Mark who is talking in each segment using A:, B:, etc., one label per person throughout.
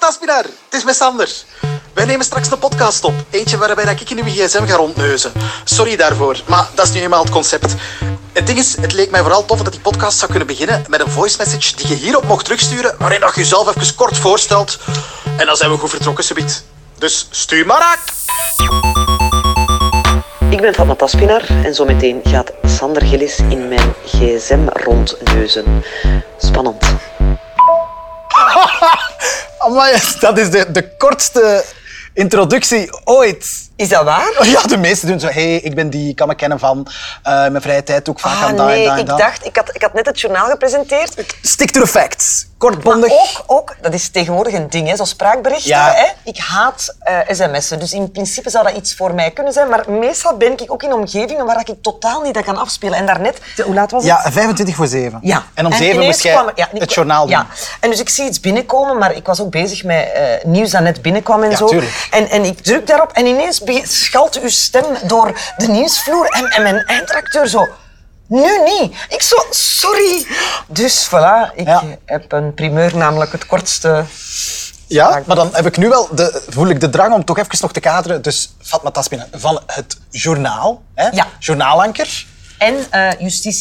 A: Wagenaar, het is met Sander. Wij nemen straks een podcast op. Eentje waarbij dat ik in uw gsm ga rondneuzen. Sorry daarvoor, maar dat is nu eenmaal het concept. Het ding is, het leek mij vooral tof dat die podcast zou kunnen beginnen met een voice message die je hierop mocht terugsturen, waarin dat je jezelf even kort voorstelt. En dan zijn we goed vertrokken, subiet. Dus stuur maar aan.
B: Ik ben Fatma Taspinar en zometeen gaat Sander Gillis in mijn gsm rondneuzen. Spannend.
C: Amai, dat is de, de kortste introductie ooit.
D: Is dat waar?
C: Ja, de meesten doen zo, hey, ik ben die, ik kan me kennen van eh, mijn vrije tijd, ook vaak
D: Ah,
C: aan dat en
D: nee,
C: dat en
D: ik
C: dat.
D: dacht, ik had, ik had net het journaal gepresenteerd.
C: Stick to the facts.
D: Maar
C: Kortbondig.
D: ook, ook, dat is tegenwoordig een ding, hè, zo'n spraakberichten.
C: Ja.
D: Hè? Ik haat eh, sms'en, dus in principe zou dat iets voor mij kunnen zijn. Maar meestal ben ik ook in omgevingen waar ik totaal niet dat kan afspelen. En daarnet, de- hoe laat was het?
C: Ja, 25 voor 7.
D: Ja.
C: En om 7
D: ineens
C: moest jij
D: kwam er- ja,
C: het journaal doen.
D: Ja. En dus ik zie iets binnenkomen, maar ik was ook bezig met eh, nieuws dat net binnenkwam en
C: Ja,
D: zo.
C: tuurlijk.
D: En, en ik druk daarop en ineens bege- schalt uw stem door de nieuwsvloer en, en mijn eindredacteur zo... Nu niet. Ik zo, sorry. Dus voilà, ik
C: Ja.
D: heb een primeur, namelijk het kortste.
C: Ja, maar dan heb ik nu wel de, voel ik de drang om toch even nog te kaderen. Dus Fatma Taspinan van het journaal, hè?
D: Ja.
C: journaalanker.
D: En eh,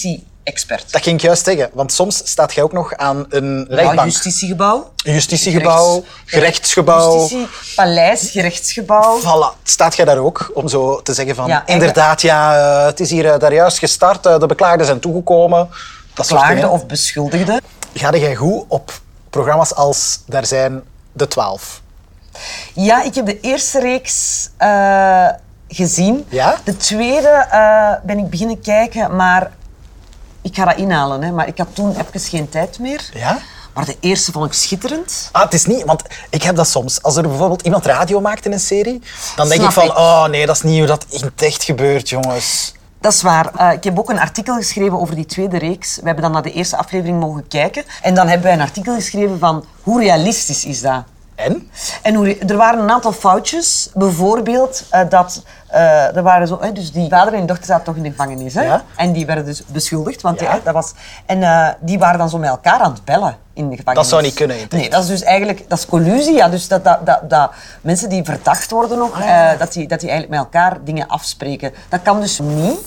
D: justitie-expert.
C: Dat ging ik juist zeggen, want soms staat jij ook nog aan een
D: Ja,
C: rechtbank.
D: justitiegebouw.
C: Een justitiegebouw, gerechtsgebouw.
D: Justitie, paleis, gerechtsgebouw.
C: Voilà, staat jij daar ook om zo te zeggen van
D: Ja, eigenlijk-
C: inderdaad, ja, eh, het is hier eh, daar juist gestart, eh, de beklaagden zijn toegekomen. Dat soort
D: Klaagde
C: dingen.
D: of beschuldigde.
C: Ga jij goed op programma's als daar zijn de twaalf?
D: Ja, ik heb de eerste reeks eh, gezien.
C: Ja?
D: De tweede eh, ben ik beginnen kijken, maar ik ga dat inhalen. Hè. Maar ik had toen even geen tijd meer.
C: Ja?
D: Maar de eerste vond ik schitterend.
C: Ah, het is niet, want ik heb dat soms. Als er bijvoorbeeld iemand radio maakt in een serie, dan denk
D: Snap
C: ik van,
D: ik.
C: oh nee, dat is niet hoe dat in het echt gebeurt, jongens.
D: Dat is waar. Eh, ik heb ook een artikel geschreven over die tweede reeks. We hebben dan naar de eerste aflevering mogen kijken. En dan hebben wij een artikel geschreven van hoe realistisch is dat?
C: En?
D: En hoe, er waren een aantal foutjes. Bijvoorbeeld eh, dat eh, er waren zo, hè, dus die vader en die dochter zaten toch in de gevangenis. Hè?
C: Ja.
D: En die werden dus beschuldigd. Want die-
C: Ja.
D: hè, dat was, en eh, die waren dan zo met elkaar aan het bellen in de gevangenis.
C: Dat zou niet kunnen, in het
D: Nee, dat is dus eigenlijk dat is collusie. Ja. Dus dat, dat, dat, dat mensen die verdacht worden nog,
C: Ah,
D: eh, dat, die, dat die eigenlijk met elkaar dingen afspreken. Dat kan dus niet.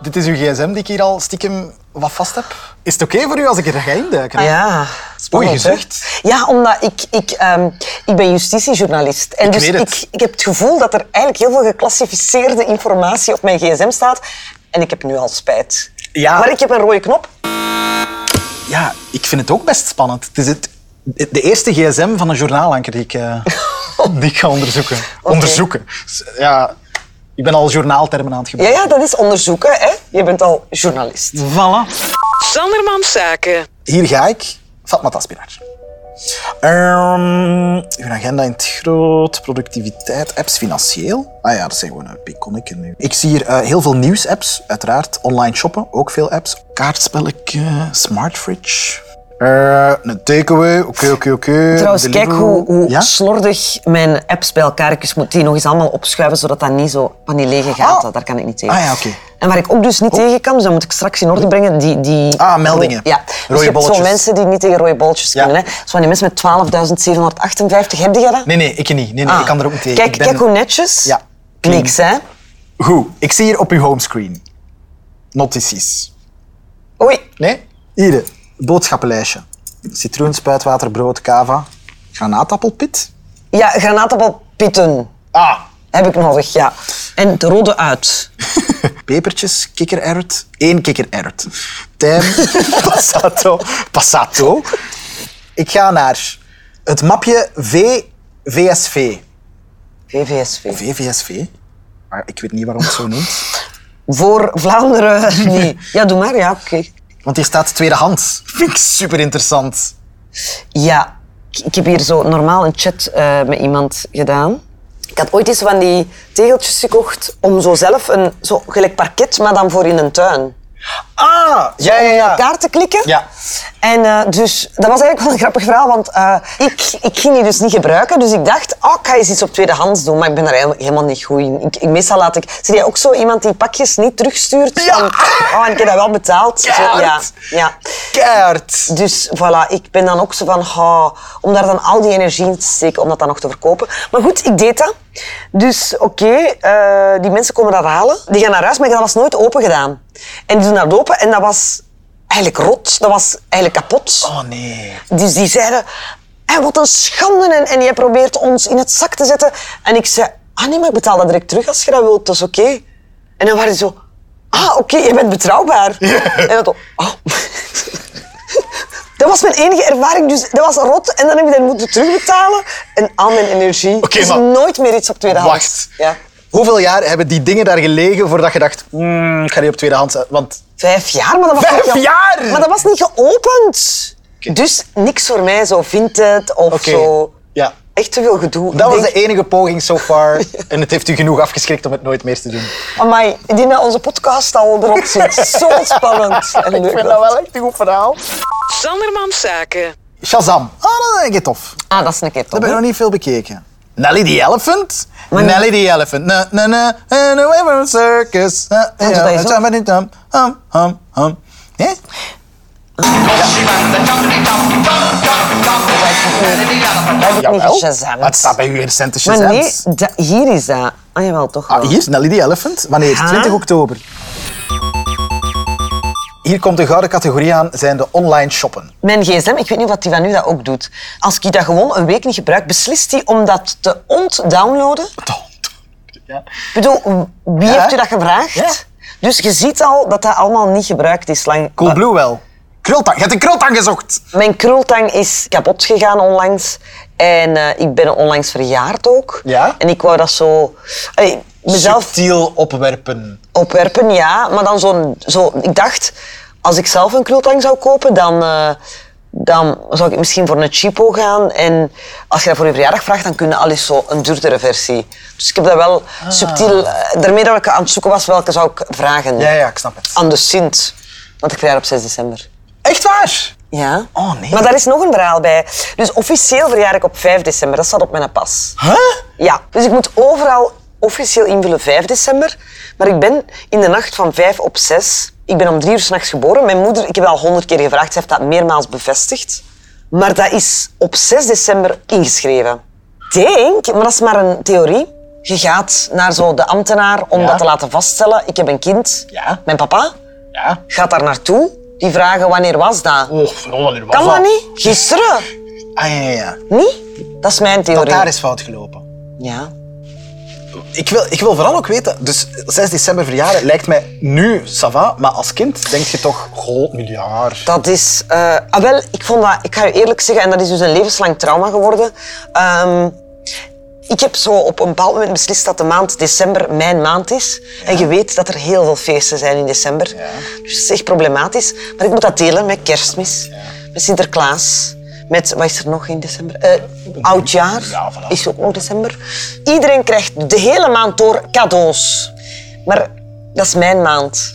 C: Dit is uw gsm die ik hier al stiekem wat vast heb. Is het oké voor u als ik er ga induiken?
D: Ah, Ja.
C: Spannend, gezegd.
D: Ja, omdat ik, ik, ehm, ik ben justitiejournalist. En dus
C: weet het.
D: Ik, ik heb het gevoel dat er eigenlijk heel veel geclassificeerde informatie op mijn gsm staat. En ik heb nu al spijt.
C: Ja.
D: Maar ik heb een rode knop.
C: Ja, ik vind het ook best spannend. Het is het, de eerste gsm van een journaalanker die ik, eh, die ik ga onderzoeken. Onderzoeken. S- Ja, ik ben al journaaltermen aan het
D: Ja,
C: gebruiken.
D: ja, dat is onderzoeken, hè. Je bent al journalist.
C: Voilà.
E: Sandermans Zaken.
C: Hier ga ik. Fatma Taspinaar. Ehm uw agenda in het groot, productiviteit, apps financieel. Ah ja, dat zijn gewoon een piconic. Ik zie hier eh, heel veel nieuws-apps, uiteraard. Online shoppen, ook veel apps. Kaartspelletje, smart fridge. Eh, een takeaway, oké, oké, oké.
D: Trouwens, kijk
C: Deliveroo.
D: hoe, hoe
C: Eh, Ja?
D: slordig mijn apps bij elkaar. Ik moet die nog eens allemaal opschuiven, zodat dat niet zo van die lege gaten.
C: Ah.
D: Daar kan ik niet tegen.
C: Ah, ja, oké. Oh.
D: En waar ik ook dus niet tegen kan, dus dat moet ik straks in orde brengen, die... die
C: Ah, meldingen.
D: Ja.
C: Rode
D: dus je hebt zo'n
C: bolletjes.
D: mensen die niet tegen rode bolletjes
C: Ja.
D: kunnen. Hè. Zo van die mensen met 12.758, heb jij dat? Ah.
C: Nee, nee, ik niet. Nee, nee, ik kan er ook niet tegen.
D: Kijk,
C: Ik ben-
D: kijk hoe netjes.
C: Ja.
D: Niks, hè?
C: Goed, ik zie hier op uw homescreen notities.
D: Oei.
C: Nee? Hier, boodschappenlijstje. Citroen, spuitwater, brood, cava, granaatappelpit.
D: Ja, granaatappelpitten
C: Ah.
D: heb ik nodig, ja. En het rode uit.
C: Pepertjes, kikkererwt. Eén kikkererwt. Tijm, passato, passato. Ik ga naar het mapje V, VSV.
D: VVSV.
C: VVSV? Maar Ah, ik weet niet waarom het zo noemt.
D: Voor Vlaanderen niet. Ja, doe maar. Ja, oké.
C: Want hier staat tweedehands. Vind ik super interessant.
D: Ja, ik, ik heb hier zo normaal een chat eh, met iemand gedaan. Ik had ooit eens van die tegeltjes gekocht om zo zelf een zo gelijk parket, maar dan voor in een tuin.
C: Ah, ja, ja, ja.
D: Elkaar te klikken.
C: Ja.
D: En eh, dus, dat was eigenlijk wel een grappig verhaal, want eh, ik, ik ging die dus niet gebruiken. Dus ik dacht, oh, ik ga eens iets op tweedehands doen, maar ik ben daar eigenlijk helemaal niet goed in. Ik, ik- meestal laat ik... Zie jij ook zo iemand die pakjes niet terugstuurt?
C: Ja.
D: Van, oh, en ik heb dat wel betaald. Zo, ja, ja.
C: Keihard.
D: Dus voilà, ik ben dan ook zo van, ha, om daar dan al die energie in te steken om dat dan nog te verkopen. Maar goed, ik deed dat. Dus oké, eh, die mensen komen dat halen. Die gaan naar huis, maar dat was nooit open gedaan. En die doen dat open en dat was eigenlijk rot. Dat was eigenlijk kapot.
C: Oh nee.
D: Dus die zeiden, hé, wat een schande en, en jij probeert ons in het zak te zetten. En ik zei, ah nee, maar ik betaal dat direct terug als je dat wilt, dat is oké. En dan waren die zo, ah oké, je bent betrouwbaar. En dat, oh. Dat was mijn enige ervaring, dus dat was rot. En dan heb ik dat moeten terugbetalen. En aan mijn energie.
C: Oké,
D: dus
C: maar-
D: nooit meer iets op tweedehands.
C: Wacht.
D: Ja.
C: Hoeveel jaar hebben die dingen daar gelegen voordat je dacht, "Hmm, ik ga die op tweedehands uit, want...
D: Vijf jaar, maar dat was
C: Vijf
D: niet ge-
C: jaar?
D: Maar dat was niet geopend. Dus niks voor mij, zo Vinted of
C: Oké.
D: zo.
C: Ja.
D: Echt te veel gedoe.
C: Dat
D: Ik
C: was
D: denk-
C: de enige poging so far en het heeft u genoeg afgeschrikt om het nooit meer te doen.
D: Amai, ik denk dat onze podcast al erop zit. Zo spannend. En leuk.
C: echt een goed verhaal.
E: Sandermans Zaken.
C: Shazam. Ah, dat vind ik het tof. Dat
D: Ah, dat is een keer
C: heb ik
D: toch?
C: nog niet veel bekeken. Nelly the Elephant?
D: Maar-
C: Nelly the Elephant. Na, na, na, in a river circus. Na,
D: doet
C: ja,
D: hij zo?
C: tam, tam, tam, Hum, hum, hum. Hè?
D: Dat heb ik niet
C: Jawel.
D: Shazam.
C: Maar het staat bij uw recente
D: Maar
C: Shazam.
D: nee, da- hier is dat. Ah, jawel, toch wel.
C: Ah, hier, Nelly the Elephant. Wanneer?
D: Ja.
C: 20 oktober. Hier komt de gouden categorie aan, zijn de online shoppen.
D: Mijn gsm, ik weet niet of die van u dat ook doet. Als ik dat gewoon een week niet gebruik, beslist die om dat te ontdownloaden? Ik bedoel, wie
C: Ja.
D: heeft u dat gevraagd?
C: Ja.
D: Dus je ziet al dat dat allemaal niet gebruikt is. Lang. Ah,
C: Coolblue wel. Krultang. Je hebt een krultang gezocht.
D: Mijn krultang is kapot gegaan onlangs. En eh, ik ben onlangs verjaard ook.
C: Ja?
D: En ik wou dat zo... Allee, mezelf
C: Subtiel opwerpen.
D: opwerpen, ja. Maar dan zo'n... Zo, ik dacht, als ik zelf een krultang zou kopen, dan... eh, dan zou ik misschien voor een cheapo gaan. En als je dat voor je verjaardag vraagt, dan kun je al eens zo een duurdere versie. Dus ik heb dat wel
C: Ah.
D: subtiel... eh, Daarmee dat ik aan het zoeken was, welke zou ik vragen?
C: Ja, ja, ik snap het.
D: Aan de Sint. Want ik verjaar op 6 december.
C: Echt waar?
D: Ja.
C: Oh, nee.
D: Maar daar is nog een verhaal bij. Dus officieel verjaar ik op 5 december. Dat staat op mijn pas.
C: Huh?
D: Ja. Dus ik moet overal officieel invullen 5 december. Maar ik ben in de nacht van 5 op 6. Ik ben om drie uur s'nachts geboren. Mijn moeder, ik heb dat al honderd keer gevraagd, ze heeft dat meermaals bevestigd. Maar dat is op 6 december ingeschreven. Denk, maar dat is maar een theorie. Je gaat naar zo de ambtenaar om
C: Ja.
D: dat te laten vaststellen. Ik heb een kind.
C: Ja.
D: Mijn papa
C: Ja.
D: gaat daar naartoe. Die vragen wanneer was dat?
C: Oh, vooral wanneer was
D: Kan dat niet? Gisteren?
C: Ah, ja, ja, ja.
D: Niet? Dat is mijn theorie.
C: Dat daar is fout gelopen.
D: Ja.
C: Ik wil, ik wil vooral ook weten, dus 6 december verjaren lijkt mij nu sava, maar als kind denk je toch, goh, miljard.
D: Dat is... eh, ah, wel, ik vond dat... Ik ga je eerlijk zeggen, en dat is dus een levenslang trauma geworden. Ehm, ik heb zo op een bepaald moment beslist dat de maand december mijn maand is. En je weet dat er heel veel feesten zijn in december. Dus dat is echt problematisch. Maar ik moet dat delen met kerstmis, met Sinterklaas, met... Wat is er nog in december? Eh, oudjaar
C: Ja, voilà.
D: is ook nog december. Iedereen krijgt de hele maand door cadeaus. Maar dat is mijn maand.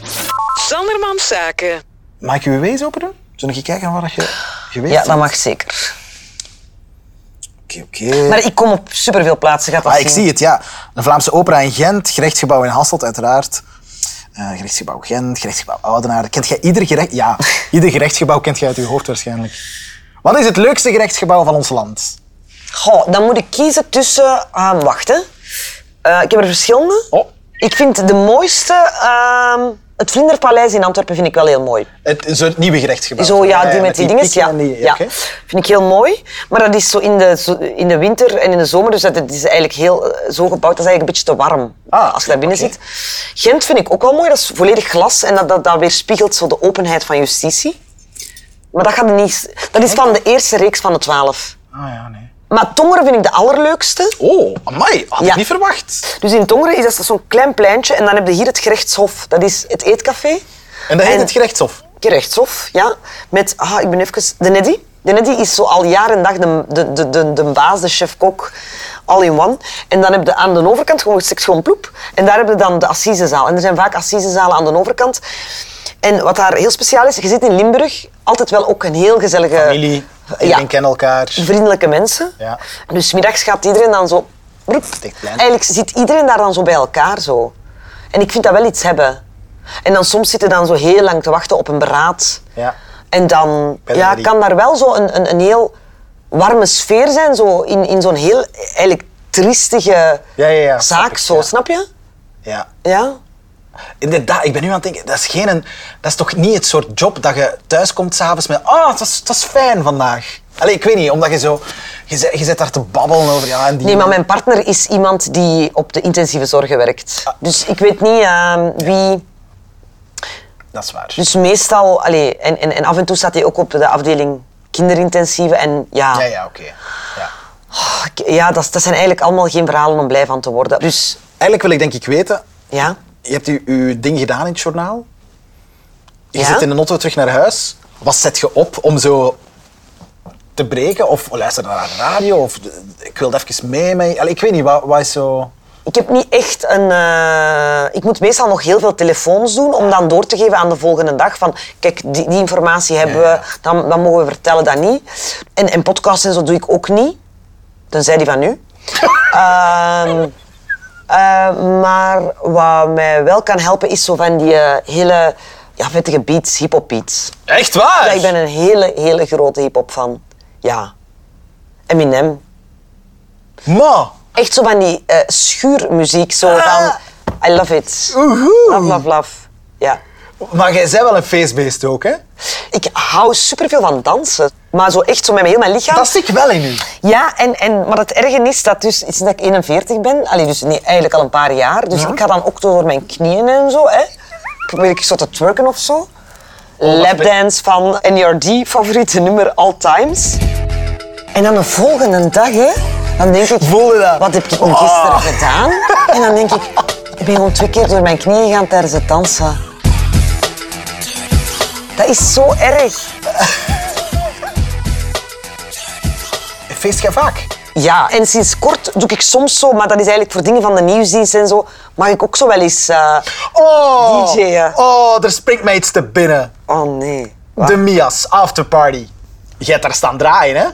E: Sandermans Zaken.
C: Mag ik je wees open doen? Zullen we kijken waar dat je geweest
D: Ja,
C: bent?
D: dat mag zeker.
C: Oké, oké.
D: Maar ik kom op superveel plaatsen, gaat dat
C: Ah, ik
D: zien.
C: zie het, ja. De Vlaamse Opera in Gent, gerechtsgebouw in Hasselt, uiteraard. Eh, gerechtsgebouw Gent, gerechtsgebouw Oudenaarde. Kent jij ieder gerecht... Ja, ieder gerechtsgebouw kent jij uit je hoofd waarschijnlijk. Wat is het leukste gerechtsgebouw van ons land?
D: Goh, dan moet ik kiezen tussen... ah, wacht, hè. Eh, ik heb er verschillende.
C: Oh.
D: Ik vind de mooiste... ehm, het Vlinderpaleis in Antwerpen vind ik wel heel mooi.
C: Het, zo'n nieuwe gerechtsgebouw. Eh,
D: Zo, ja, die met
C: met
D: die dinges.
C: pieken
D: Ja,
C: en die-
D: ja.
C: oké.
D: Vind ik heel mooi. Maar dat is zo in de, zo in de winter en in de zomer, dus dat het is eigenlijk heel eh, zo gebouwd. Dat is eigenlijk een beetje te warm
C: Ah,
D: als je daar binnen
C: oké.
D: zit. Gent vind ik ook wel mooi. Dat is volledig glas en dat, dat, dat weerspiegelt zo de openheid van justitie. Maar dat, gaat niet, dat is van de eerste reeks van de twaalf.
C: Ah, ja, nee.
D: Maar Tongeren vind ik de allerleukste.
C: Oh, amai. Had
D: Ja.
C: ik niet verwacht.
D: Dus in Tongeren is dat zo'n klein pleintje en dan heb je hier het gerechtshof. Dat is het eetcafé.
C: En dat heet
D: En-
C: het gerechtshof.
D: Gerechtshof, ja. Met, ah, ik ben even... De Neddy. De Neddy is zo al jaar en dag de, de, de, de, de baas, de chef-kok, all in one. En dan heb je aan de overkant gewoon, seks gewoon ploep. En daar heb je dan de assisezaal. En er zijn vaak assisezalen aan de overkant. En wat daar heel speciaal is, je zit in Limburg, altijd wel ook een heel gezellige...
C: Familie, iedereen kent elkaar.
D: Vriendelijke mensen.
C: Ja.
D: Dus 's middags gaat iedereen dan zo... roep.
C: echt klein.
D: Eigenlijk zit iedereen daar dan zo bij elkaar. Zo. En ik vind dat wel iets hebben. En dan soms zitten dan zo heel lang te wachten op een beraad.
C: Ja.
D: En dan
C: Ben
D: ja,
C: Marie.
D: kan daar wel zo een, een, een heel warme sfeer zijn, zo in, in zo'n heel eigenlijk triestige
C: Ja, ja, ja, snap
D: zaak,
C: ik,
D: zo,
C: ja.
D: snap je?
C: Ja.
D: Ja.
C: Inderdaad, ik ben nu aan het denken, dat is, geen een, dat is toch niet het soort job dat je thuis komt s'avonds met ah, het was, het was fijn vandaag. Allee, ik weet niet, omdat je zo... Je zit, je zit daar te babbelen over, ja, en die...
D: Nee, maar mijn partner is iemand die op de intensieve zorgen werkt.
C: Ah.
D: Dus ik weet niet ehm, wie...
C: Dat is waar.
D: Dus meestal... Allee, en, en, en af en toe staat hij ook op de afdeling kinderintensieve. En ja,
C: Ja,
D: ja,
C: ja, oké. Ja.
D: dat, dat zijn eigenlijk allemaal geen verhalen om blij van te worden. Dus
C: Eigenlijk wil ik denk ik weten,
D: ja...
C: je hebt je, je ding gedaan in het journaal. Je
D: Ja?
C: zit in een auto terug naar huis. Wat zet je op om zo te breken? Of oh, luister naar de radio? Of eh, ik wil het even mee. mee. Allee, ik weet niet, wat, wat is zo...
D: Ik heb niet echt een... eh, ik moet meestal nog heel veel telefoons doen om dan door te geven aan de volgende dag. Van, kijk, die, die informatie hebben
C: Ja, ja.
D: we, dan, dan mogen we vertellen dat niet. En, en podcasts en zo doe ik ook niet. Tenzij die van nu. Ehm, eh, maar wat mij wel kan helpen is zo van die eh, hele ja, vettige beats, hiphop beats.
C: Echt waar?
D: Ja, ik ben een hele, hele grote hiphop fan. Ja. Eminem,
C: Ma,
D: Echt zo van die eh, schuurmuziek, zo van... I love it.
C: Ah. Oehoe.
D: Love, love, love. Ja.
C: maar jij bent wel een feestbeest ook, hè?
D: Ik hou superveel van dansen. Maar zo echt zo met mijn heel mijn lichaam.
C: Dat zie ik wel in u.
D: Ja, en, en, maar het erge is dat, dus, is dat ik 41 ben. Allee, dus nee, eigenlijk al een paar jaar. Dus ik ga dan ook door mijn knieën en zo. Hè. Probeer ik zo te twerken of
C: Oh,
D: zo. Lapdance van NRD, favoriete nummer all times. En dan de volgende dag, hè, dan denk ik,
C: Voel je dat?
D: wat heb ik nu gisteren
C: Ah.
D: gedaan? En dan denk ik, ik ben gewoon twee keer door mijn knieën gegaan tijdens het dansen. Dat is zo erg.
C: Feest jij vaak?
D: Ja, en sinds kort doe ik soms zo, maar dat is eigenlijk voor dingen van de nieuwsdienst en zo, mag ik ook zo wel eens... eh,
C: Oh!
D: DJ'en.
C: Oh, er springt mij iets te binnen.
D: Oh nee.
C: De Mias, afterparty. Jij hebt daar staan draaien, hè?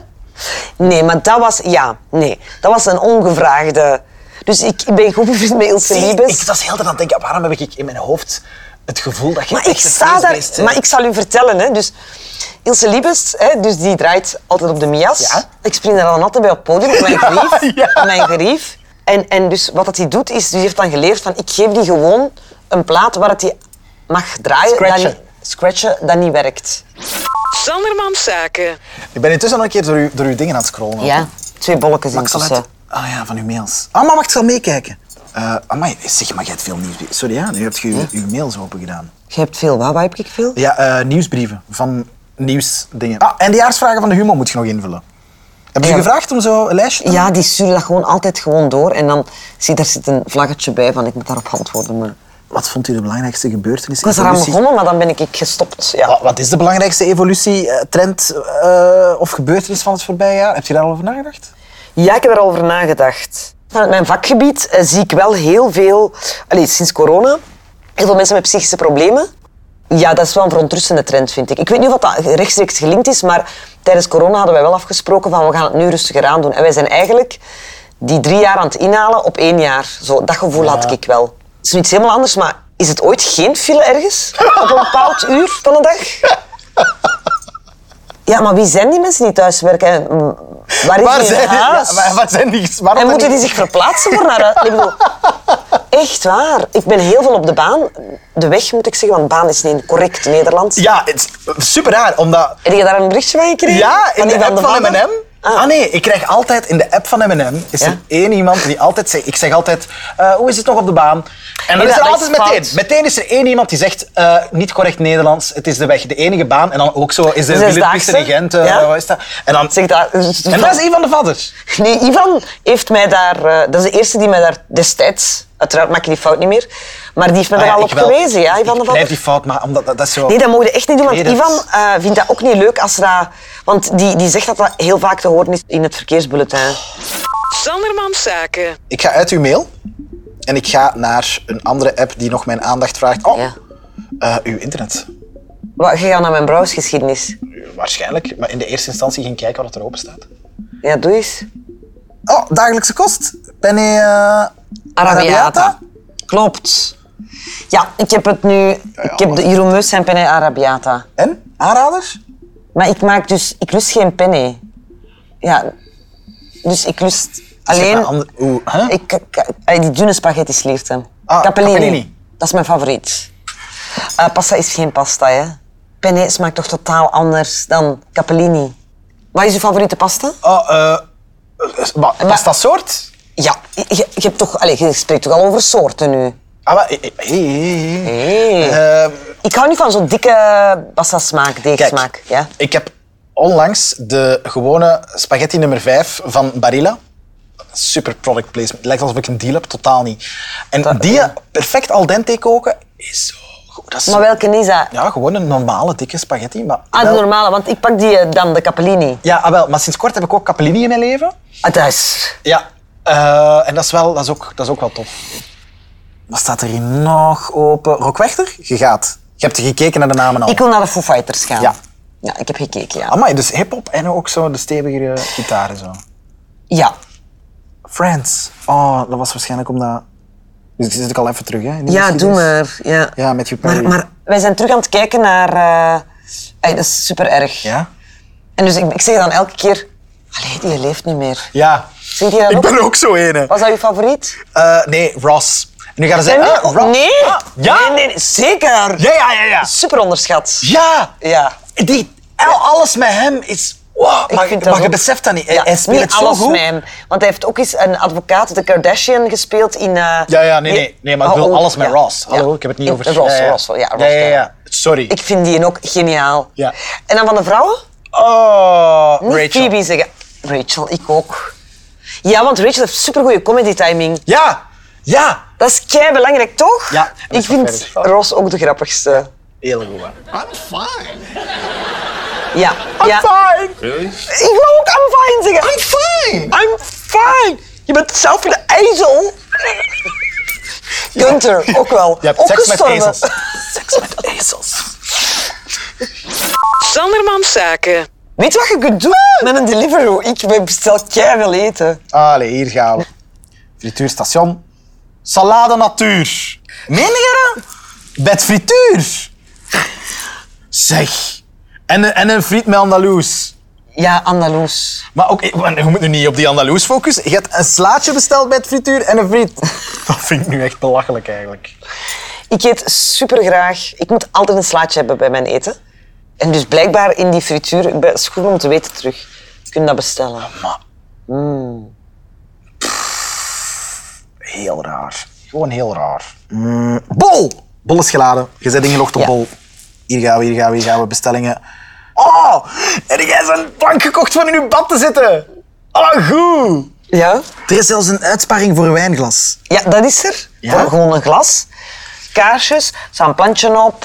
D: Nee, maar dat was... Ja, nee. Dat was een ongevraagde... Dus ik ben goed bevriend met Ilse
C: Zie,
D: Liebes.
C: Ik was heel de tijd aan het denken, waarom heb ik in mijn hoofd het gevoel dat je
D: Maar ik
C: echt een
D: sta daar...
C: feestbeest bent?
D: Maar ik zal u vertellen, hè. Dus Ilse Liebes, hè, dus die draait altijd op de Mias.
C: Ja.
D: Ik spring daar dan altijd bij op het podium, op mijn gerief.
C: ja.
D: Op mijn gerief. En, en dus wat dat hij doet, is... Die heeft dan geleerd van, ik geef die gewoon een plaat waar het die mag draaien. dat
C: Scratchen.
D: niet- scratchen, dat niet werkt.
B: Sanderman Zaken.
C: Ik ben intussen al een keer door, uw- door uw dingen aan het scrollen.
D: Ja. Twee bolletjes
F: Maar ik zal
D: intussen.
F: uit... Ah ja, van uw mails. Ah, maar wacht, ik zal meekijken. Eh amai, zeg maar, jij hebt veel nieuwsbrieven. Sorry, ja, nu heb je uw, uw mails open gedaan.
D: Je hebt veel. Waar, waar heb ik veel?
F: Ja, eh, nieuwsbrieven van nieuwsdingen. Ah, en de jaarsvragen van de humo moet je nog invullen. Hebben ze
D: Ja.
F: gevraagd om zo een lijstje te
D: Ja, die sturen dat gewoon altijd gewoon door. En dan zie daar zit een vlaggetje bij van ik moet daarop antwoorden. Maar...
F: Wat vond u de belangrijkste gebeurtenis?
D: Ik was eraan begonnen, maar dan ben ik gestopt. Ja.
F: Wa- Wat is de belangrijkste evolutie, eh, trend eh, of gebeurtenis van het voorbije jaar? Heb je daar al over nagedacht?
D: ja, ik heb daarover nagedacht. Vanuit mijn vakgebied eh, zie ik wel heel veel, allee, sinds corona, heel veel mensen met psychische problemen. Ja, dat is wel een verontrustende trend, vind ik. Ik weet niet of dat rechtstreeks gelinkt is, maar tijdens corona hadden wij wel afgesproken van we gaan het nu rustiger aandoen. En wij zijn eigenlijk die drie jaar aan het inhalen op één jaar. Zo, dat gevoel had ik wel. Het is nu iets helemaal anders, maar is het ooit geen file ergens? Op een bepaald uur van de dag? Ja, maar wie zijn die mensen die thuiswerken? En, mm, Waar is
C: Waar
D: hun
C: zijn,
D: huis?
C: ja, waar, waar zijn die? Waarom
D: En
C: heb
D: moeten
C: ik-
D: die zich verplaatsen voor naar huis? Ik bedoel, echt waar. Ik ben heel veel op de baan. De weg moet ik zeggen, want baan is niet in correct Nederlands.
C: Ja, het is super raar, omdat...
D: Heb je daar een berichtje van gekregen?
C: Ja, in
D: die
C: de app van
D: Vadder?
C: M&M.
D: Ah.
C: Ah. nee, ik krijg altijd in de app van M&M is
D: Ja?
C: er één iemand die altijd zegt, ik zeg altijd, eh, hoe is het nog op de baan? En dan
D: Nee,
C: is er
D: dat is
C: altijd
D: fout.
C: meteen, meteen is er één iemand die zegt, eh, niet correct Nederlands, het is de weg, de enige baan. En dan ook zo is de
D: Zesdaagse.
C: Willetpiste de Gent, eh,
D: Ja.
C: wat is dat? En dan...
D: Zeg dat. eh,
C: En dat is een van de vaders.
D: Nee, Ivan heeft mij daar... eh, dat is de eerste die mij daar destijds... Uiteraard maak je die fout niet meer. Maar die heeft me
C: Ah
D: daar
C: ja,
D: al
C: ik
D: op
C: wel.
D: gewezen, ja,
C: Ik
D: Ivan de Vadder.
C: blijf die fout, maar omdat dat, dat is zo...
D: Nee, dat mogen we echt niet doen, want
C: Nee, dat-
D: Ivan eh, vindt dat ook niet leuk als dat... Want die, die zegt dat dat heel vaak te horen is in het verkeersbulletin.
B: Sanderman Zaken.
C: Ik ga uit uw mail en ik ga naar een andere app die nog mijn aandacht vraagt. Oh,
D: Ja.
C: eh, uw internet.
D: Wat, je gaat naar mijn browsgeschiedenis.
C: Waarschijnlijk, maar in de eerste instantie ging kijken wat er open staat.
D: Ja, doe eens.
F: Oh, dagelijkse kost. Penny eh,
D: Arabiata. Klopt. Ja, ik heb het nu... ik heb
G: maar-
D: de Jeroen Meus zijn penne arabiata.
G: En? Aanraders?
D: Maar ik maak dus... Ik lust geen penne. Ja. Dus ik lust alleen...
C: maar ander- hoe, hè?
D: Ik, ik- eh, die dunne spaghetti's leert hem.
C: Ah,
D: Capellini.
C: Capellini.
D: Dat is mijn favoriet. Eh, pasta is geen pasta, hè. Penne smaakt toch totaal anders dan Capellini. Wat is je favoriete pasta?
C: Oh, eh, eh, maar pasta soort?
D: Ja, je, je- je hebt toch, allez, je spreekt toch al over soorten nu?
C: Ah, maar, eh, eh, hey, hey, hey.
D: Hey.
C: Eh,
D: Ik hou niet van zo'n dikke pasta smaak, deegsmaak.
C: kijk,
D: Ja?
C: ik heb onlangs de gewone spaghetti nummer 5 van Barilla. Super product placement. Het lijkt alsof ik een deal heb, totaal niet. En die perfect al dente koken is zo goed. Dat is
D: Maar welke is dat?
C: Ja, gewoon een normale dikke spaghetti. Maar
D: Ah, de
C: wel-
D: normale, want ik pak die eh, dan, de Capellini.
C: Ja, ah, wel, maar sinds kort heb ik ook capellini in mijn leven.
D: Ah, dat is...
C: Ja. eh, en dat is, wel, dat, is ook, dat is ook wel tof.
G: Wat staat er hier nog open? Rockwechter? Je gaat. Je hebt gekeken naar de namen al.
D: Ik wil naar de Foo Fighters gaan.
C: Ja.
D: Ja, ik heb gekeken, ja.
C: Amai, dus hip-hop en ook zo de stevigere gitaren. Zo.
D: Ja.
G: Friends. Oh, dat was waarschijnlijk omdat... Dus zit ik al even terug, hè? in de
D: Ja, doe
G: geschiedenis.
D: maar. Ja.
G: Ja, Matthew Perry.
D: Maar, maar wij zijn terug aan het kijken naar... eh, ey, dat is super erg.
C: Ja?
D: En dus ik, ik zeg dan elke keer... Allee, die leeft niet meer.
C: Ja.
D: Zeg je dat ook?
C: ook zo ene.
D: Was dat je favoriet?
C: Eh, nee, Ross. En nu gaan ze zeggen...
D: nee,
C: ah, Ross.
D: nee.
C: Ah, ja?
D: Nee, nee, nee, zeker.
C: Ja, ja, ja, ja.
D: Super onderschat.
C: Ja!
D: Ja.
C: Die, al- alles met hem is... Wow,
D: Ik
C: maar
D: vind
C: maar
D: ook-
C: je beseft dat niet. Hij-
D: Ja,
C: hij speelt
D: niet
C: het zo
D: alles
C: goed.
D: met hem. Want hij heeft ook eens een advocaat, de Kardashian, gespeeld in... eh,
C: Ja, ja, nee, nee. nee maar ik wil
D: Oh, oh,
C: alles met
D: ja.
C: Ross. Hallo,
D: Ja.
C: ik heb het niet
D: In-
C: over...
D: Ross,
C: ja, ja.
D: Ross, ja, Ross,
C: ja, ja, ja. Sorry.
D: Ik vind die ook geniaal.
C: Ja.
D: En dan van de vrouwen?
C: Oh,
D: Niet
C: Rachel.
D: Phoebe zeggen. Rachel, ik ook. Ja, want Rachel heeft supergoeie comedy timing.
C: Ja! Ja!
D: Dat is kei belangrijk, toch?
C: Ja, dat
D: Ik
C: is wel
D: vind
C: verder.
D: Ross ook de grappigste.
C: Heel goed, hè.
D: Ja. ja.
C: Fine!
D: Ik wil ook I'm fine zeggen. I'm
C: fine.
D: I'm fine. Je bent zelf een ezel. Gunther, ook wel.
C: Je hebt
D: ook
C: seks met
D: gestorven.
C: ezels. seks met ezels.
H: Sandermans Zaken.
D: Weet je wat je kunt doen met een Deliveroo? Ik bestel kei veel eten.
C: Allee, hier gaan we.
G: Frituurstation.
C: Salade natuur. Meen je dat? Met frituur. Zeg. En, een- en een friet met Andaloes.
D: Ja, Andaloes.
C: Maar ook, want je moet nu niet op die Andaloes focussen. Je hebt een slaatje besteld met frituur en een friet. Dat vind ik nu echt belachelijk eigenlijk.
D: Ik eet supergraag. Ik moet altijd een slaatje hebben bij mijn eten. En dus blijkbaar in die frituur, ik ben het is goed om te weten terug. Je kunt dat bestellen.
C: Maar...
D: Mm.
C: Pff, heel raar. Gewoon heel raar. Mm.
G: Bol! Bol is geladen. Je zet ingelogd op
D: Ja.
G: bol. Hier gaan we, hier gaan we, hier gaan we. Bestellingen.
C: Oh, heb jij zo'n bank gekocht om in uw bad te zitten? Oh, goed.
D: Ja?
G: Er is zelfs een uitsparing voor een wijnglas.
D: Ja, dat is er. Voor Gewoon een glas. Kaarsjes, er staat een plantje op.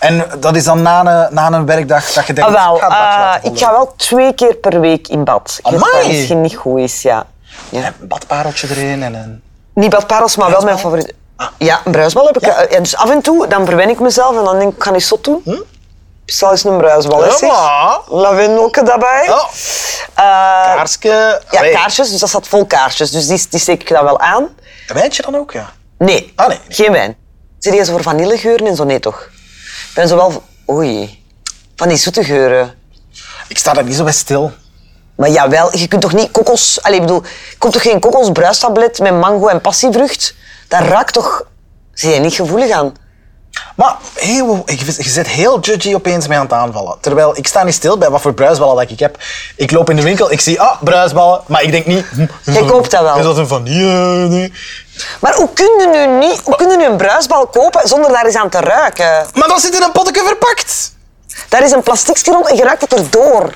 C: En dat is dan na een, na een werkdag dat je denkt...
D: Ah, wel,
C: ik ga het bad
D: eh,
C: laten
D: ik ga wel twee keer per week in bad. Ik weet
C: Amai.
D: dat misschien niet goed is, ja. ja.
C: Een badpareltje erin en een...
D: Niet badparels, maar wel mijn favoriet. Ja, een bruisbal heb ik. eh, ja, dus af en toe, dan verwen ik mezelf en dan denk ik, ik ga eens zot doen. Stel eens een bruisbal, hè, zeg.
C: maar.
D: Lavendelke daarbij.
C: Oh,
D: Eh,
C: kaarsje.
D: Ja,
C: Allee,
D: kaarsjes, dus dat staat vol kaarsjes. Dus die, die steek ik dan wel aan.
C: Een wijntje dan ook, ja.
D: Nee,
C: Ah, nee, nee.
D: geen wijn. Zit je zo voor vanillegeuren en zo? Nee, toch? Ik ben zo wel... van- Oei, van die zoete geuren.
C: Ik sta daar niet zo bij stil.
D: Maar jawel, je kunt toch niet kokos... Allee, ik bedoel, er komt toch geen kokosbruistablet met mango en passievrucht? Dat raakt toch... Zie je niet gevoelig aan?
C: Maar heel, je, je zit heel judgy opeens mee aan het aanvallen. Terwijl ik sta niet stil bij wat voor bruisballen dat ik heb. Ik loop in de winkel, ik zie, ah, bruisballen. Maar ik denk niet... hm,
D: Jij koopt dat wel.
C: Is dat een vanille? Nee.
D: Maar hoe kun je nu, niet, hoe kun je nu een bruisbal kopen zonder daar eens aan te ruiken?
C: Maar dat zit in een potje verpakt.
D: Daar is een plasticje rond en je ruikt het erdoor.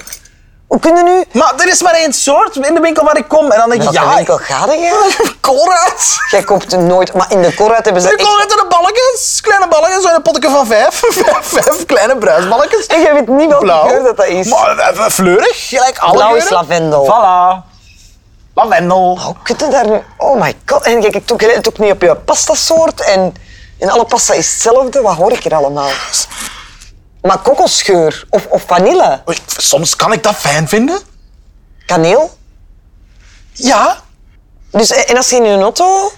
D: Hoe kun je nu...
C: Maar er is maar één soort in de winkel waar ik kom. En dan denk ik,
D: Wat
C: ja,
D: een winkel gaat je?
C: Colruyt.
D: Jij koopt nooit... Maar in de Corruit hebben ze
C: De
D: echt...
C: Colruyt en de balletjes. Kleine balletjes en een potje van vijf. vijf. Vijf kleine bruisballetjes.
D: En jij weet niet welke
C: Blauw.
D: geur dat dat is.
C: Maar eh, fleurig, gelijk alle
D: Blauw is
C: geuren.
D: lavendel.
C: Voilà. Lavendel.
D: Hoe kun je daar nu... Oh my god. En kijk, ik doe het ook niet op je pastasoort. En in alle pasta is hetzelfde. Wat hoor ik hier allemaal? Maar kokosgeur of, of vanille.
C: Oei, Soms kan ik dat fijn vinden.
D: Kaneel.
C: Ja.
D: Dus, eh, en als je in je auto...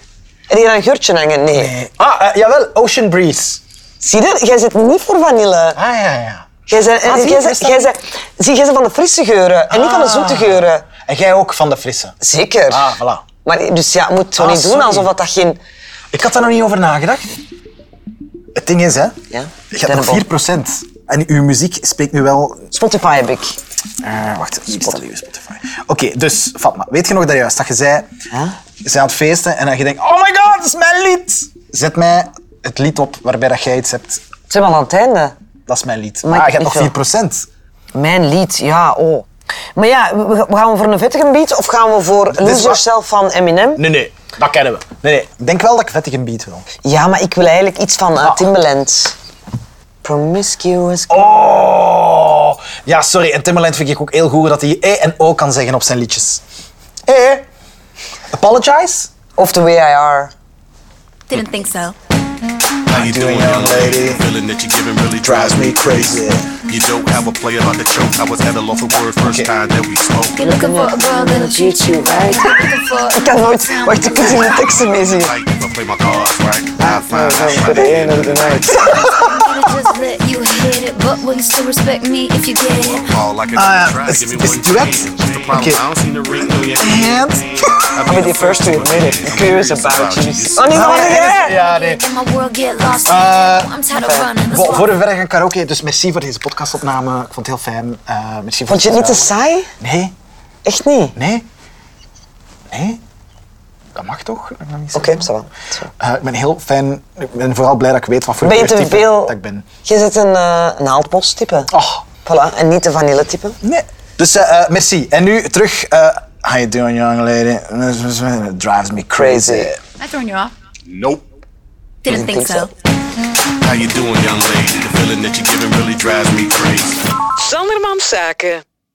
D: Heb je daar een geurtje hangen? Nee.
I: Ah, eh, jawel, Ocean Breeze.
D: Zie je, jij zit niet voor vanille.
I: Ah ja, ja.
D: Jij bent,
I: Ah, zie je,
D: jij
I: dat
D: bent,
I: is dan-
D: jij bent, zie, jij bent van de frisse geuren en niet van de
I: Ah.
D: zoete geuren.
I: En jij ook van de frisse.
D: Zeker.
I: Ah, voilà.
D: Maar dus ja, je moet zo
I: Ah,
D: niet doen
I: sorry.
D: alsof dat, dat geen...
I: Ik had daar nog niet over nagedacht.
C: Het ding is, hè,
D: Ja?
C: je hebt nog 4 En uw muziek spreekt nu wel...
D: Spotify heb ik.
C: Eh, wacht, hier staat uw Spotify. Oké, dus, Fatma, weet je nog dat juist dat je zei... Je bent aan het feesten en dat je denkt, oh my god, dat is mijn lied! Zet mij het lied op waarbij dat jij iets hebt.
D: Zijn we al aan het einde?
C: Dat is mijn lied.
D: Maar
C: Maar ah,
D: ik-
C: je hebt nog
D: ik wil-
C: 4 procent.
D: Mijn lied, ja, oh. Maar ja, we- we- gaan we voor een vettige beat of gaan we voor Lose
I: wa-
D: Yourself van Eminem?
I: Nee, nee, dat kennen we.
C: Nee, nee, ik denk wel dat ik vettig een beat wil.
D: Ja, maar ik wil eigenlijk iets van eh, Timbaland. Promiscuous.
I: Oh, ja, sorry. En Timmerland vind ik ook heel goed dat hij E en O kan zeggen op zijn liedjes. E. Apologize?
C: Oh.
D: Of The Way I Are.
J: Didn't think so.
K: How you doing, young lady? Feeling that you're giving really drives me crazy. You don't have a play about the choke. I was at a loss of word first time that we spoke.
J: You're looking for a girl that'll treat you right. Looking for
D: Ik kan nooit... Wacht, ik kan hier de teksten mee zien.
K: Like if I play my cards right, I find out by the end of the night.
J: Could've just let you hit it, but will you still respect me if you get it?
K: All I can do
C: Ah,
K: is try.
C: it's-
K: Give me
C: it's
K: one
C: duet?
K: chance. What's the problem?
C: Okay.
K: I don't see the ring on your
C: And?
K: I'll be
D: I'm the first to admit it. I'm curious about you. Oh, nee,
C: Ah,
D: dat
C: ja,
D: was ik.
C: Ja, nee.
J: Did my world get lost? I'm tired of running. Let's
C: Bo,
J: walk.
C: voor de verre gaan karaoke, dus merci voor deze podcastopname. Ik vond het heel fijn. Eh, merci voor
D: Vond je het niet te
C: vertrouwen.
D: saai?
C: Nee,
D: Echt niet? Oké,
C: nee. Nee. Dat mag toch? Dat mag niet zo.
D: ça va.
C: Eh, ik ben heel fijn. Ik ben vooral blij dat ik weet wat voor
D: Ben je te
C: kleurtype
D: veel...
C: dat ik ben.
D: Je zit een eh naaldbos-type.
C: Oh,
D: Voilà, en niet de vanille-type.
C: nee. Dus eh, eh, merci. En nu terug. eh how you doing, young lady? It drives me crazy.
J: Am I throwing you off?
K: Nope.
J: Didn't think so.
K: How you doing, young lady? The feeling that you're giving really drives me crazy.
E: Sanderman Zaken.